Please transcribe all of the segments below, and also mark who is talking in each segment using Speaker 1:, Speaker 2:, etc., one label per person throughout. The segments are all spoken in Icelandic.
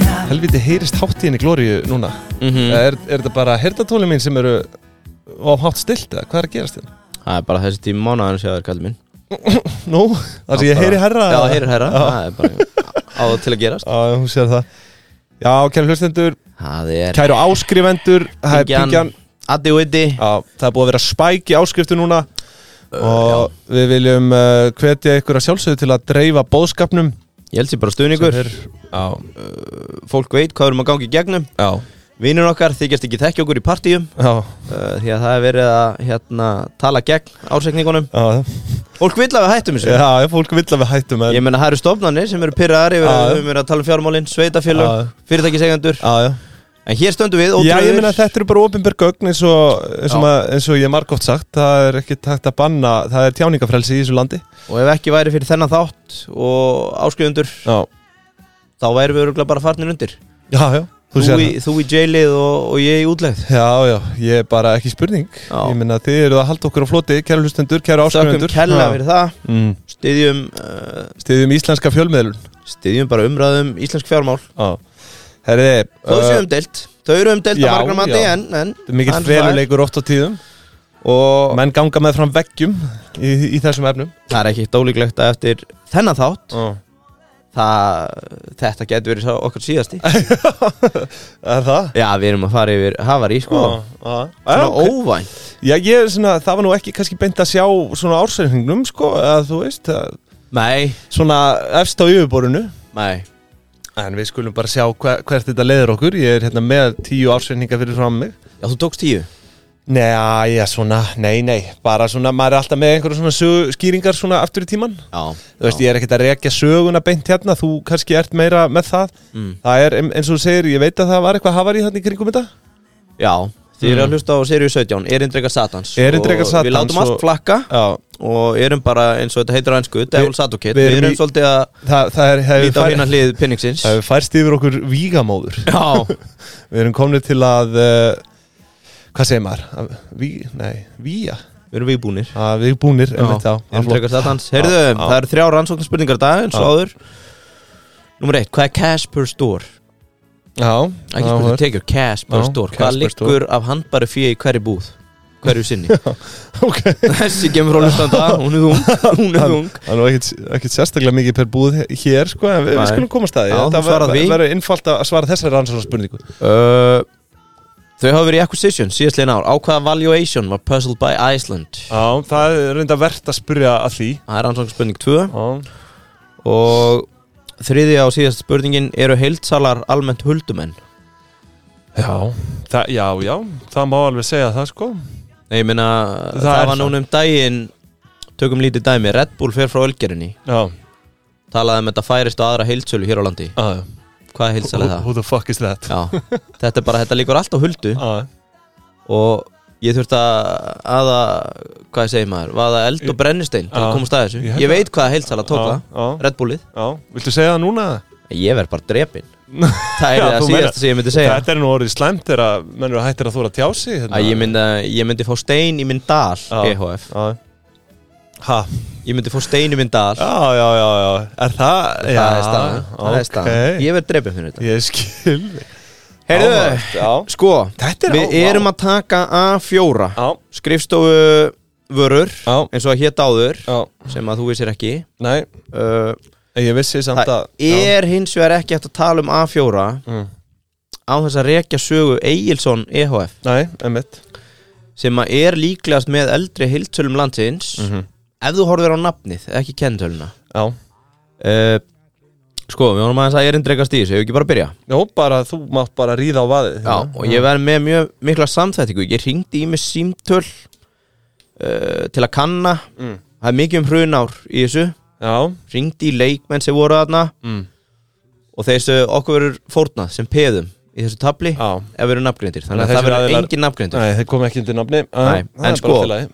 Speaker 1: hvernig heyrist háttíðin í glóriu núna?
Speaker 2: Mhm.
Speaker 1: Er, er þetta bara herdatóli mín sem eru á hátt stilt eða hvað er að gerast hérna?
Speaker 2: Það er bara þessi tíma mánaðan sem það er kallið minn
Speaker 1: Nú, þar sem ég
Speaker 2: Bara-
Speaker 1: heyri herra
Speaker 2: Já, heyri herra,
Speaker 1: Já.
Speaker 2: það er bara á það til að gerast
Speaker 1: Já, hún sér það Já, kæru hlustendur,
Speaker 2: Það er
Speaker 1: kæru áskrifendur Það er pingjan
Speaker 2: Addi og Iddi
Speaker 1: Já, það er búið að vera spæk í áskriftu núna
Speaker 2: Uh,
Speaker 1: og við viljum uh, hvetja ykkur að sjálfsögðu til að dreifa bóðskapnum
Speaker 2: Ég held sér bara stuðningur
Speaker 1: Sem
Speaker 2: Uh,
Speaker 1: er- Já,
Speaker 2: Fólk veit hvað við erum að gangi í gegnum
Speaker 1: já,
Speaker 2: Vinur okkar þykjast ekki þekki okkur í partíum
Speaker 1: já,
Speaker 2: uh, Því að það er verið að hérna, tala gegn ársekningunum
Speaker 1: já,
Speaker 2: Fólk vill að við hættum þessu
Speaker 1: já, já fólk vill að við hættum en,
Speaker 2: Ég meina, það eru stofnanir sem eru pyrraðar yfir
Speaker 1: Já, já.
Speaker 2: að við höfum verið að tala um fjármálin, sveitafélög,
Speaker 1: Já, já.
Speaker 2: fyrirtækisegjandur
Speaker 1: Já, já
Speaker 2: En hér stöndum við,
Speaker 1: Já,
Speaker 2: ótrúður
Speaker 1: ég meina að þetta eru bara ofinbjörg gögn eins og, eins, og
Speaker 2: Já.
Speaker 1: maður, eins og ég margótt sagt það er ekki takt að banna, það er tjáningafrelsi í þessu landi
Speaker 2: Og ef ekki væri fyrir þennan þátt og áskrifundur
Speaker 1: Já,
Speaker 2: þá væri við örgulega bara farnir undir
Speaker 1: já, já,
Speaker 2: Þú,
Speaker 1: þú sér
Speaker 2: í, þú í jailið og, og ég í útlegð
Speaker 1: það Já, já, ég er bara ekki spurning
Speaker 2: Já.
Speaker 1: Ég meina að þið eruð að halda okkur á floti, kæru hlustendur, kæru
Speaker 2: Þökkum
Speaker 1: áskrifundur
Speaker 2: kella fyrir það
Speaker 1: mm.
Speaker 2: Styðjum, uh,
Speaker 1: Stiðjum íslenska fjölmiðlun
Speaker 2: styðjum bara umræðum íslensk fjármál
Speaker 1: Já, herriði
Speaker 2: Þó séu umdelt, þau eru umdelt
Speaker 1: Uh, já,
Speaker 2: að margra mati
Speaker 1: já.
Speaker 2: en, en
Speaker 1: Mikill
Speaker 2: en
Speaker 1: feluleikur oft á tíðum
Speaker 2: Og
Speaker 1: Menn ganga með fram veggjum í, í þessum efnum
Speaker 2: það er ekki dólíklegt að eftir þennan þátt
Speaker 1: Já
Speaker 2: það, Þetta getur verið sá- okkar síðasti
Speaker 1: Er það?
Speaker 2: Já, við erum að fara yfir Havari, sko
Speaker 1: já,
Speaker 2: Svona
Speaker 1: Ah, ok.
Speaker 2: óvænt
Speaker 1: Já, ég, svona, það var nú ekki kannski beint að sjá svona ársreikningnum, sko, að þú veist, að,
Speaker 2: Nei,
Speaker 1: svona efst á yfirborinu.
Speaker 2: nei
Speaker 1: En við skulum bara sjá hver, hvert þetta leiður okkur. Ég er hérna með tíu ársreikninga fyrir fram mig.
Speaker 2: Já, þú tókst tíu
Speaker 1: Nei, já, svona, nei, nei, bara svona, maður er alltaf með einhverja svona sög, skýringar svona aftur í tíman.
Speaker 2: Já,
Speaker 1: Þú veist, ég er ekkert að rekja söguna beint hérna, þú kannski ert meira með það.
Speaker 2: Mm.
Speaker 1: Það er, em- eins og þú segir, ég veit að það var eitthvað hafari þarna í kringum þetta.
Speaker 2: já Þið eru að hlusta á Seriu 17, erindreikar Satans
Speaker 1: Erindrekar
Speaker 2: Og
Speaker 1: Mm. Satans
Speaker 2: Við látum
Speaker 1: og-
Speaker 2: allt flakka
Speaker 1: Já,
Speaker 2: og erum bara eins og þetta heitir á ennsku Devil Sadokit,
Speaker 1: við
Speaker 2: við,
Speaker 1: erum
Speaker 2: erum
Speaker 1: í-
Speaker 2: svolítið að
Speaker 1: það, það er, hefur
Speaker 2: líta á hérna
Speaker 1: fær,
Speaker 2: hlið pinningsins
Speaker 1: hefur færst yfir okkur vígamóður.
Speaker 2: Já,
Speaker 1: Við erum komnið til að uh, hvað segir maður? Að Ví, nei, víja
Speaker 2: við erum viðbúnir
Speaker 1: að við erum búnir einmitt, já, það er flott.
Speaker 2: Erindreikar Satans, heyrðu,
Speaker 1: Já, já.
Speaker 2: það eru þrjá rannsóknarspurningar í dag eins og
Speaker 1: Já.
Speaker 2: áður Númer eitt, hvað er cash per store?
Speaker 1: Já,
Speaker 2: Ekki
Speaker 1: já,
Speaker 2: spurning tekjur, cash per
Speaker 1: Já,
Speaker 2: store
Speaker 1: cash
Speaker 2: Hvað
Speaker 1: per store.
Speaker 2: liggur af handbæri fíi í hverju búð? Hverju sinni?
Speaker 1: ok
Speaker 2: Þessi kemur frá hlustanda, hún er þung, hún er þung
Speaker 1: Það er nú ekkit, ekkit sérstaklega mikið per búð he- hér sko, en við, við
Speaker 2: Nei.
Speaker 1: skulum komast að því.
Speaker 2: Já,
Speaker 1: Þetta
Speaker 2: þú svarar
Speaker 1: ver-
Speaker 2: því.
Speaker 1: verður innfalt að svara þessari rannsóknarspurningu
Speaker 2: Uh, Þau hafa verið í acquisition síðastlegin ár Á hvaða valuation var Puzzled by Iceland?
Speaker 1: Já, það er reynda verðt að spyrja að því
Speaker 2: Það er ansvang spurning 2
Speaker 1: Já,
Speaker 2: Og þriðja og síðast spurningin Eru heildsalar almennt huldumenn?
Speaker 1: já, það, já, já það má alveg segja það sko
Speaker 2: Nei, ég meina
Speaker 1: Það
Speaker 2: Það,
Speaker 1: er
Speaker 2: var
Speaker 1: það.
Speaker 2: núna um daginn Tökum lítið dæmi Red Bull fer frá ölgerinni
Speaker 1: Já,
Speaker 2: Talaði um þetta færist á aðra heildsölu hér á landi
Speaker 1: já,
Speaker 2: Hvað heildsal
Speaker 1: Ah,
Speaker 2: er
Speaker 1: who,
Speaker 2: það?
Speaker 1: who the fuck is that? Ah,
Speaker 2: Já, þetta er bara, þetta líkur allt á huldu
Speaker 1: Já,
Speaker 2: Og ég þurfti að aða, hvað segir maður Vaða eld og brennistein til
Speaker 1: Já.
Speaker 2: að komast að þessu
Speaker 1: Ég held
Speaker 2: Ég veit hvað heildsala tók
Speaker 1: Já, já.
Speaker 2: það Red Bullið
Speaker 1: já, viltu segja það núna?
Speaker 2: Ég verð bara drepinn Það er
Speaker 1: Já,
Speaker 2: það
Speaker 1: þú meinar.
Speaker 2: síðast sem ég myndi segja
Speaker 1: Þetta er nú orðið slæmt þegar mennur hættir að þóra að tjá sig hérna.
Speaker 2: að ég, myndi, ég myndi fá stein í minn dal
Speaker 1: Já.
Speaker 2: EHF
Speaker 1: Já. Ha,
Speaker 2: Ég myndi fá stein í minn dal
Speaker 1: já, já, já, já Er það? já,
Speaker 2: Það er staðan Það er staðan
Speaker 1: Ég,
Speaker 2: Ég verð drepinn fyrir þetta
Speaker 1: ég skil
Speaker 2: Heyrðu,
Speaker 1: Áhugavert, já.
Speaker 2: sko
Speaker 1: Þetta er
Speaker 2: Við
Speaker 1: áhugavert.
Speaker 2: erum að taka A4
Speaker 1: Já,
Speaker 2: Skrifstofu vörur
Speaker 1: já,
Speaker 2: eins og að hétt áður
Speaker 1: já
Speaker 2: sem að þú vissir ekki
Speaker 1: Nei,
Speaker 2: uh,
Speaker 1: en ég vissi samt
Speaker 2: Það
Speaker 1: að já.
Speaker 2: er hins vegar ekki hægt að tala um A4
Speaker 1: Mm.
Speaker 2: á þess að rekja sögu E Egilson EHF
Speaker 1: Nei, emmitt
Speaker 2: sem að er líklegast með eldri heiltölum landsins ef þú horfir á nafnið, ekki kentöluna
Speaker 1: Já,
Speaker 2: uh, Sko, við vorum aðeins að erindrekast í þessu, hefur ekki bara að byrja
Speaker 1: Jó, bara þú mátt bara ríða á vaðið
Speaker 2: Já, og ég verð með mjög mikla samþættingu Ég ringdi í mig símtöl uh, til að kanna
Speaker 1: Mm.
Speaker 2: Það er mikið um hrunár í þessu
Speaker 1: Já,
Speaker 2: Ringdi í leikmenn sem voru þarna
Speaker 1: Mm.
Speaker 2: Og þessu okkur verður fórnað sem peðum í þessu tabli
Speaker 1: Já.
Speaker 2: ef við erum nafngrindir Þannig að
Speaker 1: Þessir
Speaker 2: það verður
Speaker 1: aðilar-
Speaker 2: engin nafngrindur
Speaker 1: nei, þeir kom ekki undir nafni
Speaker 2: Nei,
Speaker 1: Það
Speaker 2: en
Speaker 1: er bara
Speaker 2: sko-
Speaker 1: allt í lagi.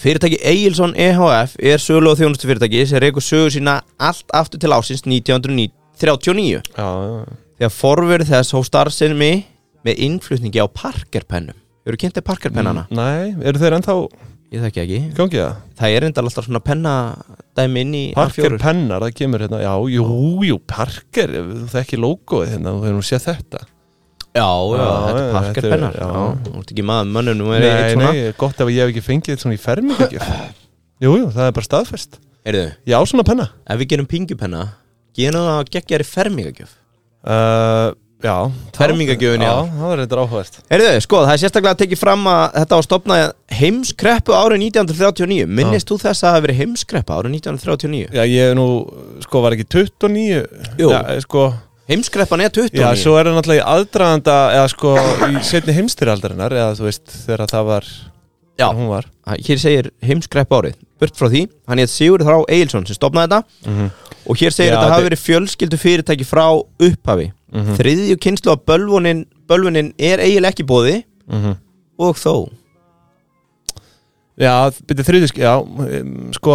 Speaker 2: Fyrirtæki Egilson EHF er sölu og þjónustu fyrirtæki sem reykur sögu sína allt aftur til ásins 1939
Speaker 1: Já, já,
Speaker 2: þegar forverið þess hóf starfsemi með innflutningi á parkerpennum Eru kynntið parkerpennana?
Speaker 1: já Nei, eru þeir ennþá
Speaker 2: Mm, Ég þekki ekki
Speaker 1: Gangi það?
Speaker 2: Það er enda alltaf svona penna dæmi inn í
Speaker 1: Parker
Speaker 2: A4
Speaker 1: Pennar, það kemur hérna Já, jú, jú, Parker Það er ekki logoið hérna, þú hefur nú séð þetta
Speaker 2: Já, já,
Speaker 1: Já,
Speaker 2: þetta
Speaker 1: já,
Speaker 2: er Parker
Speaker 1: þetta er-
Speaker 2: pennar
Speaker 1: já.
Speaker 2: Já, þú ert ekki maður mönnum
Speaker 1: Nei, nei, gott ef ég hef ekki fengið þetta svona í fermingagjöf Jú, jú, það er bara staðfest
Speaker 2: Heyrðu,
Speaker 1: Já, svona penna
Speaker 2: ef við gerum pingjupenna Gerum það að geggjari fermingagjöf
Speaker 1: uh, Já
Speaker 2: Fermingagjöfin, já.
Speaker 1: Já, það er þetta áhugast
Speaker 2: Heyrðu, skoð, það er sérstaklega að tekið fram að þetta var stopnað heimskreppu árið 1939 Minnist þú þess að það hafi verið heimskreppa árið 1939?
Speaker 1: Já, ég er nú, sko, var ekki 29
Speaker 2: Jú.
Speaker 1: Já, sko
Speaker 2: Heimskreppan er 29
Speaker 1: Já, svo er það náttúrulega í aðdraðanda eða sko í setni heimstyraldarinnar eða þú veist þegar það var
Speaker 2: Já.
Speaker 1: hún var
Speaker 2: Hér segir heimskrepp árið Burt frá því, hann heit Sigur Þrá Egilson sem stopnaði þetta
Speaker 1: Mhm,
Speaker 2: Og hér
Speaker 1: Já,
Speaker 2: segir þetta hafi
Speaker 1: þetta- Mhm.
Speaker 2: verið fjölskyldu fyrirtæki frá upphafi Þriðju kynslu af bölvunin, bölvunin er eiginlega ekki bóði
Speaker 1: mhm.
Speaker 2: Og þó
Speaker 1: Já, byrja þriðisk, já, um, sko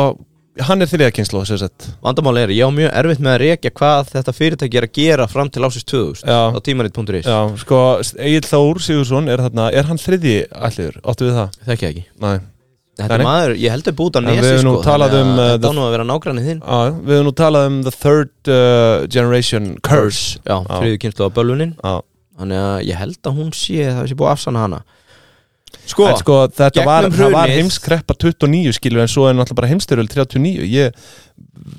Speaker 1: hann er þriðja kynslu þess að
Speaker 2: Vandamál er, ég á mjög erfitt með að rekja hvað þetta fyrirtæki er að gera fram til ásins 2000
Speaker 1: Já.
Speaker 2: Á tímarit.is
Speaker 1: Já, sko, Egil Þór Sigursson er þarna, er hann þriðji allir, áttu við það?
Speaker 2: Þekki það ekki
Speaker 1: Nei
Speaker 2: Þetta
Speaker 1: Nei.
Speaker 2: er maður, ég heldur búið á
Speaker 1: En
Speaker 2: nesi
Speaker 1: við höfum
Speaker 2: sko
Speaker 1: nú talað
Speaker 2: þannig
Speaker 1: um,
Speaker 2: að
Speaker 1: uh,
Speaker 2: Þetta
Speaker 1: the-
Speaker 2: á nú að vera nágrannið þinn
Speaker 1: Ah, Já, við höfum nú talað um the third uh, generation curse Ah.
Speaker 2: Já, þriðju kynslu af bölvunin
Speaker 1: Já,
Speaker 2: Þannig að ég held að hún sé, það sé búið að afsanna hana Sko,
Speaker 1: en sko þetta
Speaker 2: gegnum
Speaker 1: var, það var
Speaker 2: hrunið-
Speaker 1: heimskreppa 29 skilur en svo er náttúrulega bara heimstyrjöld 39 ég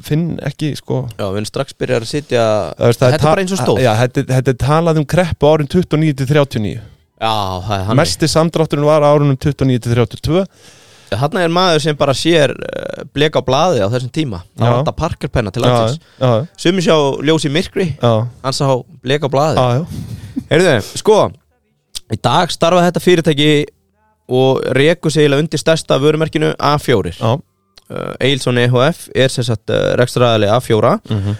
Speaker 1: finn ekki sko
Speaker 2: já, við erum strax byrjar að sitja
Speaker 1: Það veist, það
Speaker 2: Þetta er
Speaker 1: ta-
Speaker 2: bara eins og stóð
Speaker 1: Já, þetta, þetta er talað um kreppu árin 29 til 39
Speaker 2: það er hann
Speaker 1: Mesti samdrátturinn var árunum 29 til 32
Speaker 2: Þarna er maður sem bara sér uh, bleka á blaði á þessum tíma Það
Speaker 1: Já.
Speaker 2: var þetta parkerpenna til
Speaker 1: Já,
Speaker 2: landsins
Speaker 1: já,
Speaker 2: Sumi sjá ljós í myrkri,
Speaker 1: já,
Speaker 2: hann sá bleka á blaði
Speaker 1: já, já.
Speaker 2: Heyrðu, sko Í dag starfaði þetta fyrirtæki og reku sig eiginlega undir stærsta vörumerkinu A4 uh,
Speaker 1: já.
Speaker 2: Eilsson EHF E er sem sagt uh, rekstraðali A4
Speaker 1: Mhm.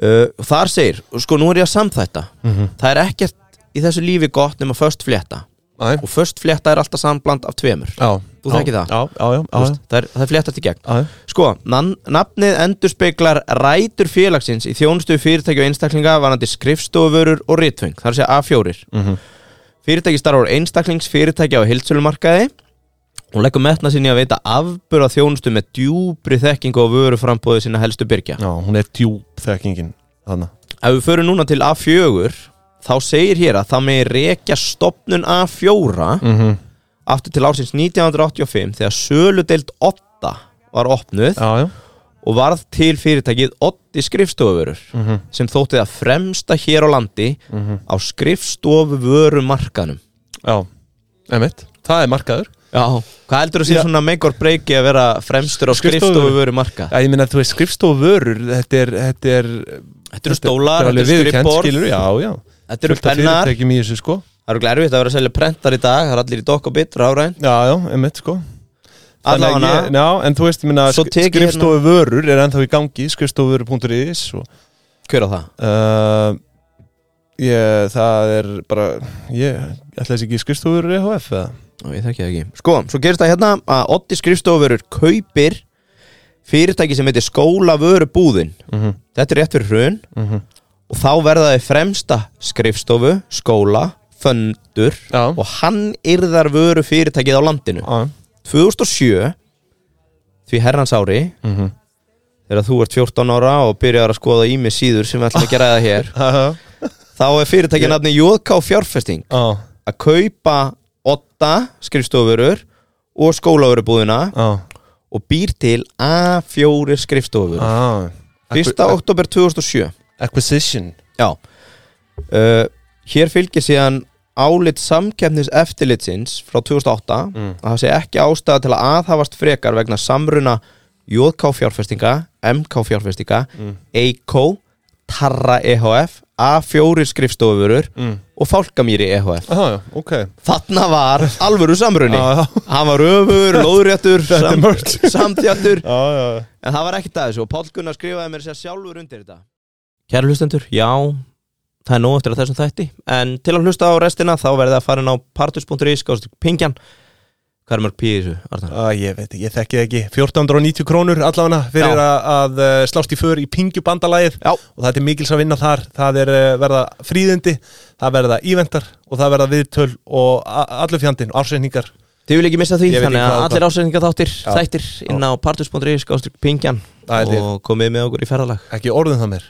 Speaker 2: uh, og Þar segir, sko nú er ég að samþætta
Speaker 1: Mhm.
Speaker 2: Það er ekkert í þessu lífi gott nema först flétta
Speaker 1: Æ,
Speaker 2: og först flétta er alltaf sambland af tveimur
Speaker 1: já
Speaker 2: Þú þekkir það?
Speaker 1: Já, já, já,
Speaker 2: Þú
Speaker 1: já,
Speaker 2: veist, það, er, það er fléttast í gegn
Speaker 1: já,
Speaker 2: Sko, nan, nafnið endurspeglar rætur félagsins í þjónustu fyrirtæki og einstaklinga varandi skrifstofurur og ritfeng, þar sé A4
Speaker 1: Mhm.
Speaker 2: Fyrirtæki starfur einstaklings fyrirtæki á heildsölumarkaði og leggur metna sinni að veita afbura þjónustu með djúbri þekkingu og vöru frambóði sinna helstu byrgja
Speaker 1: já, hún er djúb þekkingin Þannig
Speaker 2: Ef við förum núna til A4 þá segir hér að það megi rekja stopnun A4
Speaker 1: mm -hmm.
Speaker 2: aftur til ársins 1985 þegar söludeild 8 var opnuð
Speaker 1: Já, já,
Speaker 2: og varð til fyrirtækið Otti skrifstofuvörur
Speaker 1: Mhm.
Speaker 2: sem þótti það fremsta hér á landi á skrifstofuvörumarkanum
Speaker 1: já, emitt Það er markaður
Speaker 2: Já, hvað heldur þú sér
Speaker 1: Já.
Speaker 2: svona make or breaki að vera fremstur á
Speaker 1: Skrifstofu-
Speaker 2: skrifstofuvörumarka?
Speaker 1: Já, ég meina að þú veist skrifstofu vörur Þetta er, þetta er
Speaker 2: Þetta eru stólar,
Speaker 1: þetta
Speaker 2: þetta
Speaker 1: er
Speaker 2: eru skrifborð,
Speaker 1: skrifborð Já, já
Speaker 2: þetta eru
Speaker 1: Fullt af
Speaker 2: pennar
Speaker 1: fyrirtækjum í þessu sko
Speaker 2: Það eru glærfitt að vera að selja prentar í dag, það er allir í dokk og bitur áræn
Speaker 1: Já, já, emitt sko Þannig að
Speaker 2: Allavega
Speaker 1: ég- Já, en þú veist, ég minna,
Speaker 2: Svo hérna- tek ég
Speaker 1: skrifstofu vörur er ennþá í gangi, skrifstofuvörur.is og
Speaker 2: hver á það?
Speaker 1: uh, ég, það er bara, ég, ætla þessi ekki skrifstofuvörur EHF eða?
Speaker 2: Ó, ég þekki það ekki Sko, svo gerist það hérna að Otti skrifstofurur kaupir fyrirtæki sem heitir skólavörubúðin
Speaker 1: Mhm.
Speaker 2: Þetta er rétt fyrir hrun
Speaker 1: Mhm.
Speaker 2: og þá verða þið fremsta skrifstofu, skóla, föndur
Speaker 1: Já,
Speaker 2: og hann yrðar vöru fyrirtækið á landinu
Speaker 1: já,
Speaker 2: 2007 því herrans ári
Speaker 1: mhm.
Speaker 2: þegar þú ert 14 ára og byrjar að skoða ími síður sem við ætlum ekki að ræða hér
Speaker 1: Já, já,
Speaker 2: þá er fyrirtækið nafni JK Fjárfesting
Speaker 1: já,
Speaker 2: að kaupa 8 skrifstofurur og skólaverubúðina
Speaker 1: já,
Speaker 2: og býr til A4
Speaker 1: Ah,
Speaker 2: skrifstofur
Speaker 1: já.
Speaker 2: 1.
Speaker 1: Acqui-
Speaker 2: oktober 2007
Speaker 1: Acquisition
Speaker 2: Já uh, Hér fylgir síðan álit samkeppnis eftirlitsins frá 2008
Speaker 1: Mm.
Speaker 2: að það sé ekki ástæða til að aðhafast frekar vegna samruna JK fjárfestinga, MK fjárfestinga
Speaker 1: Mm.
Speaker 2: EIKO, Tarra E EHF A4 skrifstofurur
Speaker 1: Mm.
Speaker 2: og Fálkamýri EHF
Speaker 1: Já, já, ok
Speaker 2: Þarna var alvöru samruni
Speaker 1: Já, já.
Speaker 2: Hann var öfur, lóðréttur
Speaker 1: Þetta er
Speaker 2: sam,
Speaker 1: merge. Já,
Speaker 2: samþjattur
Speaker 1: já, já
Speaker 2: En það var ekkert að þessu og Páll Gunnar skrifaði mér sér sjálfur undir þetta Kæra hlustendur, já það er nóg eftir að þessum þætti en til að hlusta á restina þá verðið að fara inn á partus.is skáðast pingjan Hvað er mörg pí í þessu, Arnar?
Speaker 1: Æ, ég veit ekki, ég þekki það ekki 1490 krónur allavega fyrir
Speaker 2: Já.
Speaker 1: að, að eh, slást í för í pingjubandalagið
Speaker 2: Já.
Speaker 1: og það er mikils að vinna þar það er eh, verða fríðindi, það verða íventar og það verða viðtöl og a- allur fjandinn, ársreiningar
Speaker 2: Þið vil ekki missa því,
Speaker 1: Ég veit
Speaker 2: þannig
Speaker 1: ekki
Speaker 2: að
Speaker 1: hvað
Speaker 2: allir ásætninga þáttir
Speaker 1: Já.
Speaker 2: þættir inn á partus.ri skástrík pingjan
Speaker 1: Það er
Speaker 2: og komið með okkur í ferðalag
Speaker 1: ekki orðin það mér